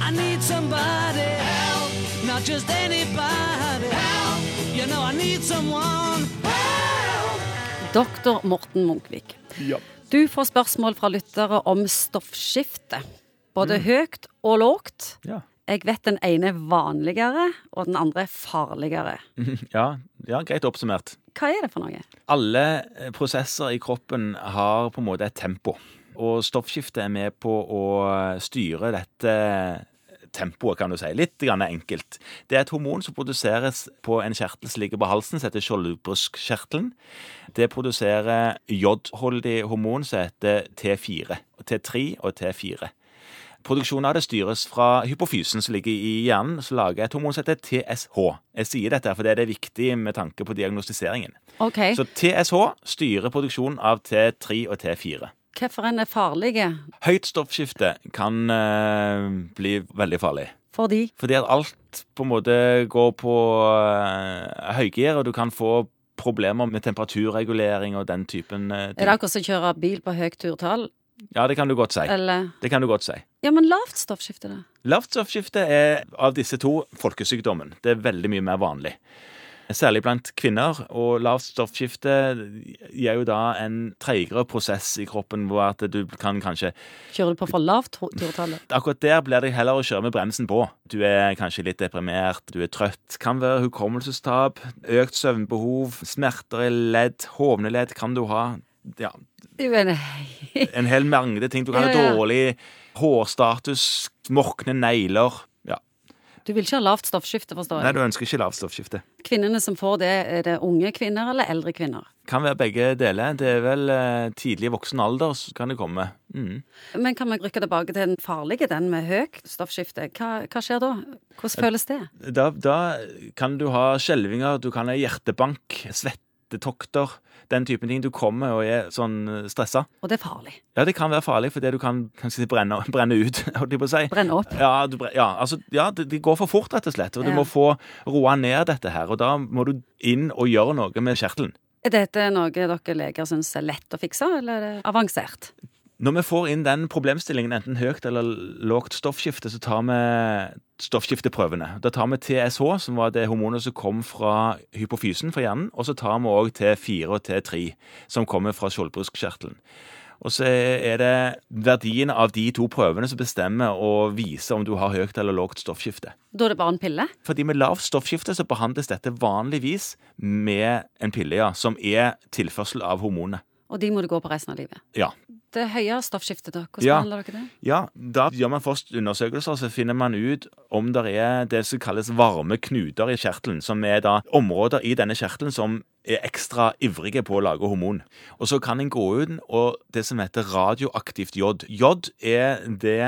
I need somebody help, not just anybody help. You know I need someone help. Doktor Morten Munkvik. Ja. Du får spørsmål fra lyttere om stoffskifte. Både høyt og lågt. Mm. Ja. Jeg vet den ene er vanligere, og den andre er farligere. ja. ja, greit oppsummert. Hva er det for noe? Alle eh, prosesser i kroppen har på en måte et tempo, og stoffskiftet er med på å styre dette tempoet, kan du si. Litt grann enkelt. Det er et hormon som produseres på en kjertel som ligger på halsen, som heter skjoldbruskkjertelen. Det produserer jodholdig hormon som heter T4, T3 og T4. Produksjonen av det styres fra hypofysen som ligger i hjernen, som lager et hormon som heter TSH. Jeg sier dette fordi det er viktig med tanke på diagnostiseringen. Ok, Så TSH styrer produksjonen av T3 og T4. Hvorfor en er farlig? Høyt stoffskifte kan eh, bli veldig farlig. Fordi Fordi at alt på en måte går på uh, høygir, og du kan få problemer med temperaturregulering og den typen Er eh, det ting. akkurat som å kjøre bil på høyt turtall? Ja, det kan du godt si. Eller Det kan du godt si. Ja, men lavt stoffskifte, da? Lavt stoffskifte er av disse to folkesykdommen. Det er veldig mye mer vanlig. Særlig blant kvinner. Og lavt stoffskifte gir jo da en treigere prosess i kroppen, hvor at du kan kanskje Kjører du på for lavt ho- turtall? da? Akkurat der blir det heller å kjøre med bremsen på. Du er kanskje litt deprimert, du er trøtt. Kan være hukommelsestap, økt søvnbehov, smerter i ledd, hovneledd kan du ha. Ja, Jo, men- en hel mengde ting. Du kan Ja, ja. ha dårlig hårstatus, morkne negler. Ja. Du vil ikke ha lavt stoffskifte, forstår Nei, jeg. du ønsker ikke lavstoffskifte. Kvinnene som får det, er det unge kvinner eller eldre kvinner? Kan være begge deler. Det er vel eh, tidlig voksen alder så kan det komme. Mm. Men kan vi rykke tilbake til den farlige, den med høyt stoffskifte? Hva, hva skjer da? Hvordan føles det? Da, da kan du ha skjelvinger, du kan ha hjertebank, svettetokter, den typen ting. Du kommer og er sånn stressa. Og det er farlig. Ja, det kan være farlig, fordi du kan kanskje brenne, brenne ut, holdt jeg på å si. Brenne opp. Ja, du, bre- ja, altså, ja det, det går for fort, rett og slett. Og du Ja. må få roa ned dette her. Og da må du inn og gjøre noe med kjertelen. Er dette noe dere leger syns er lett å fikse, eller er det avansert? Når vi får inn den problemstillingen, enten høyt eller lågt stoffskifte, så tar vi stoffskifteprøvene. Da tar vi TSH, som var det hormonet som kom fra hypofysen fra hjernen, og så tar vi òg T4 og T3, som kommer fra skjoldbruskkjertelen. Og så er det verdien av de to prøvene som bestemmer og viser om du har høyt eller lågt stoffskifte. Da er det bare en pille? Fordi med lavt stoffskifte så behandles dette vanligvis med en pille, ja, som er tilførsel av hormonet. Og de må du gå på resten av livet. Ja. Det høye stoffskiftet, da, hvordan Ja. behandler dere det? Ja, da gjør man først undersøkelser, så finner man ut om det er det som kalles varme knuter i kjertelen, som er da områder i denne kjertelen som er ekstra ivrige på å lage hormon. Og så kan en gå ut og det som heter radioaktivt jod. Jod er det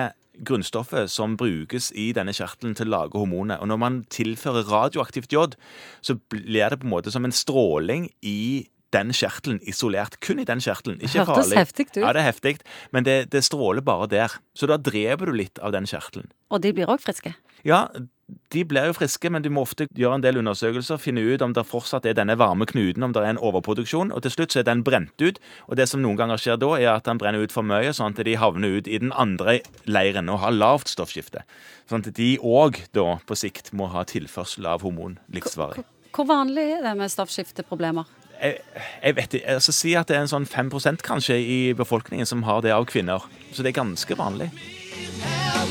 grunnstoffet som brukes i denne kjertelen til å lage hormonet. Og når man tilfører radioaktivt jod, så blir det på en måte som en stråling i den kjertelen isolert. Kun i den kjertelen. Ikke Hørtes farlig. heftig ut. Ja, det er heftig, men det, det stråler bare der. Så da dreper du litt av den kjertelen. Og de blir òg friske? Ja, de blir jo friske, men du må ofte gjøre en del undersøkelser, finne ut om det fortsatt er denne varme knuten, om det er en overproduksjon, og til slutt så er den brent ut. Og det som noen ganger skjer da, er at den brenner ut for mye, sånn at de havner ut i den andre leiren og har lavt stoffskifte. Sånn at de òg da på sikt må ha tilførsel av hormon livsvarig. Hvor vanlig er det med stoffskifteproblemer? Jeg, jeg vet ikke, altså Si at det er en sånn 5 kanskje i befolkningen som har det av kvinner. Så det er ganske vanlig. Help,